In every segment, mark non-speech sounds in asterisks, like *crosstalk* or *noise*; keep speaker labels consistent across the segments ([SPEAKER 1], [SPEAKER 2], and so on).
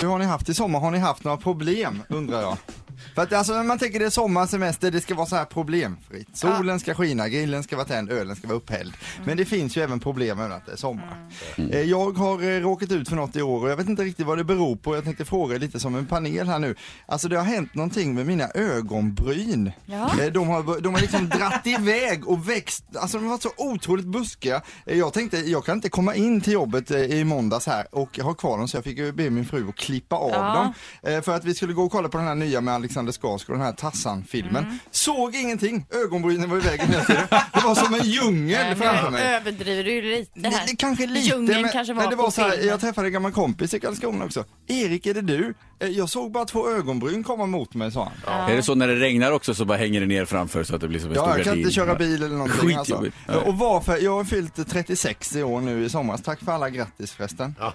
[SPEAKER 1] Hur har ni haft i sommar? Har ni haft några problem undrar jag? För att alltså när man tänker det är sommarsemester, det ska vara så här problemfritt. Solen ska skina, grillen ska vara tänd, ölen ska vara upphälld.
[SPEAKER 2] Mm.
[SPEAKER 1] Men det finns ju även problem med att det är sommar. Eh, Jag har eh, råkat ut för något i år och jag vet inte riktigt vad det beror på. Jag tänkte fråga er lite som en panel här nu. Alltså det har hänt någonting med mina ögonbryn.
[SPEAKER 2] Ja.
[SPEAKER 1] Eh, De har, bör- de har liksom dratt iväg och växt, alltså de har varit så otroligt buskiga. Eh, Jag tänkte, jag kan inte komma in till jobbet eh, i måndags här och ha kvar dem så jag fick ju be min fru att klippa av
[SPEAKER 2] Ja.
[SPEAKER 1] dem. Eh, För att vi skulle gå och kolla på den här nya med Alexander Skarsgård, den här Tarzan-filmen.
[SPEAKER 2] Mm.
[SPEAKER 1] Såg ingenting, ögonbrynen var i vägen hela tiden. Det var som en djungel framför
[SPEAKER 2] nu
[SPEAKER 1] mig.
[SPEAKER 2] överdriver du ju lite
[SPEAKER 1] Det,
[SPEAKER 2] eh, här.
[SPEAKER 1] det kanske lite,
[SPEAKER 2] Djungeln
[SPEAKER 1] men,
[SPEAKER 2] kanske var
[SPEAKER 1] men det var
[SPEAKER 2] på
[SPEAKER 1] så här,
[SPEAKER 2] filmen.
[SPEAKER 1] jag träffade en gammal kompis i Karlskrona också. Erik, är det du? Eh, Jag såg bara två ögonbryn komma mot mig, sa han.
[SPEAKER 3] Är det så när det regnar också så bara hänger det ner framför så att det blir som en stor
[SPEAKER 1] Ja, jag kan
[SPEAKER 3] gardin?
[SPEAKER 1] inte köra bil eller någonting alltså.
[SPEAKER 3] Skitjobbigt. Nej.
[SPEAKER 1] Och varför? Jag har fyllt 36 i år nu i somras. Tack för alla grattis förresten.
[SPEAKER 4] Ja,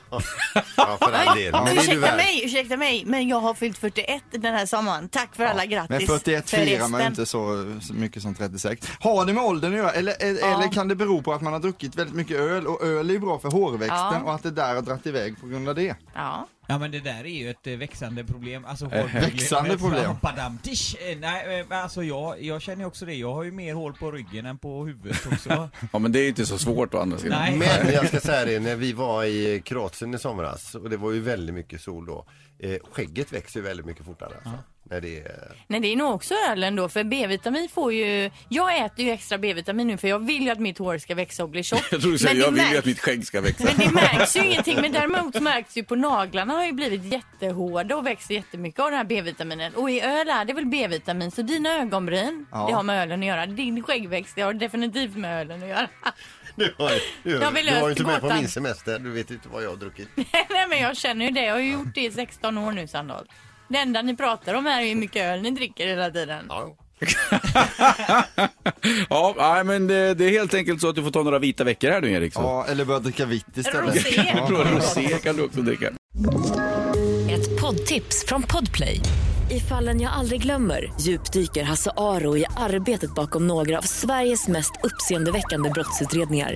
[SPEAKER 4] för all del. Men det är du
[SPEAKER 2] Ursäkta
[SPEAKER 4] värd.
[SPEAKER 2] mig, ursäkta mig, men jag har fyllt 41 den här sommaren. Tack för alla grattis.
[SPEAKER 1] Men 41 firar man ju
[SPEAKER 2] förresten.
[SPEAKER 1] inte så, så mycket som 36. Har det med åldern att göra? Eller, eller,
[SPEAKER 2] Ja.
[SPEAKER 1] eller kan det bero på att man har druckit väldigt mycket öl och öl är ju bra för hårväxten
[SPEAKER 2] Ja.
[SPEAKER 1] och att det där har dratt iväg på grund av det?
[SPEAKER 2] Ja.
[SPEAKER 5] Ja men det där är ju ett eh, växande problem, alltså
[SPEAKER 1] Eh, växande problem.
[SPEAKER 5] Hoppadamtisch! Nej eh, men alltså jag, jag känner ju också det, jag har ju mer hål på ryggen än på huvudet
[SPEAKER 1] *laughs*
[SPEAKER 5] också.
[SPEAKER 3] Ja, men det är ju inte så svårt å andra sidan.
[SPEAKER 5] Nej.
[SPEAKER 4] Men jag ska säga det, när vi var i Kroatien i somras och det var ju väldigt mycket sol då. Eh, skägget växer ju väldigt mycket fortare alltså. När det är... *laughs*
[SPEAKER 2] Nej, det är nog också ölen då, för B-vitamin får ju... Jag äter ju extra B-vitamin nu för jag vill ju att mitt hår ska växa och bli tjockt.
[SPEAKER 3] *laughs* Jag tror du
[SPEAKER 2] Men
[SPEAKER 3] säger,
[SPEAKER 2] det
[SPEAKER 3] jag vill ju
[SPEAKER 2] märks-
[SPEAKER 3] att mitt skägg ska växa.
[SPEAKER 2] Men det märks ju ingenting. Men däremot märks ju på naglarna har ju blivit jättehårda och växer jättemycket av den här B-vitaminen. Och i öl är det väl B-vitamin. Så dina ögonbryn,
[SPEAKER 1] Ja.
[SPEAKER 2] det har med ölen att göra. Din skäggväxt, det har definitivt med ölen att göra.
[SPEAKER 4] Nu har, nu,
[SPEAKER 2] Jag vill
[SPEAKER 4] du var ju
[SPEAKER 2] lösa
[SPEAKER 4] inte med på
[SPEAKER 2] gåtan.
[SPEAKER 4] min semester, du vet inte vad jag har druckit.
[SPEAKER 2] *laughs* Nej men jag känner ju det. Jag har ju gjort det i 16 år nu Sandahl. Det enda ni pratar om är ju hur mycket öl ni dricker hela tiden.
[SPEAKER 4] Ja.
[SPEAKER 3] Ja, nej, men det, det är helt enkelt så att du får ta några vita veckor här nu, Erik. Så.
[SPEAKER 1] Ja, eller börja dricka vitt istället.
[SPEAKER 2] Rosé.
[SPEAKER 3] Bra rosé kan *laughs* du också dricka.
[SPEAKER 6] Ett poddtips från Podplay. I fallen jag aldrig glömmer djupdyker Hasse Aro i arbetet bakom några av Sveriges mest uppseendeväckande brottsutredningar.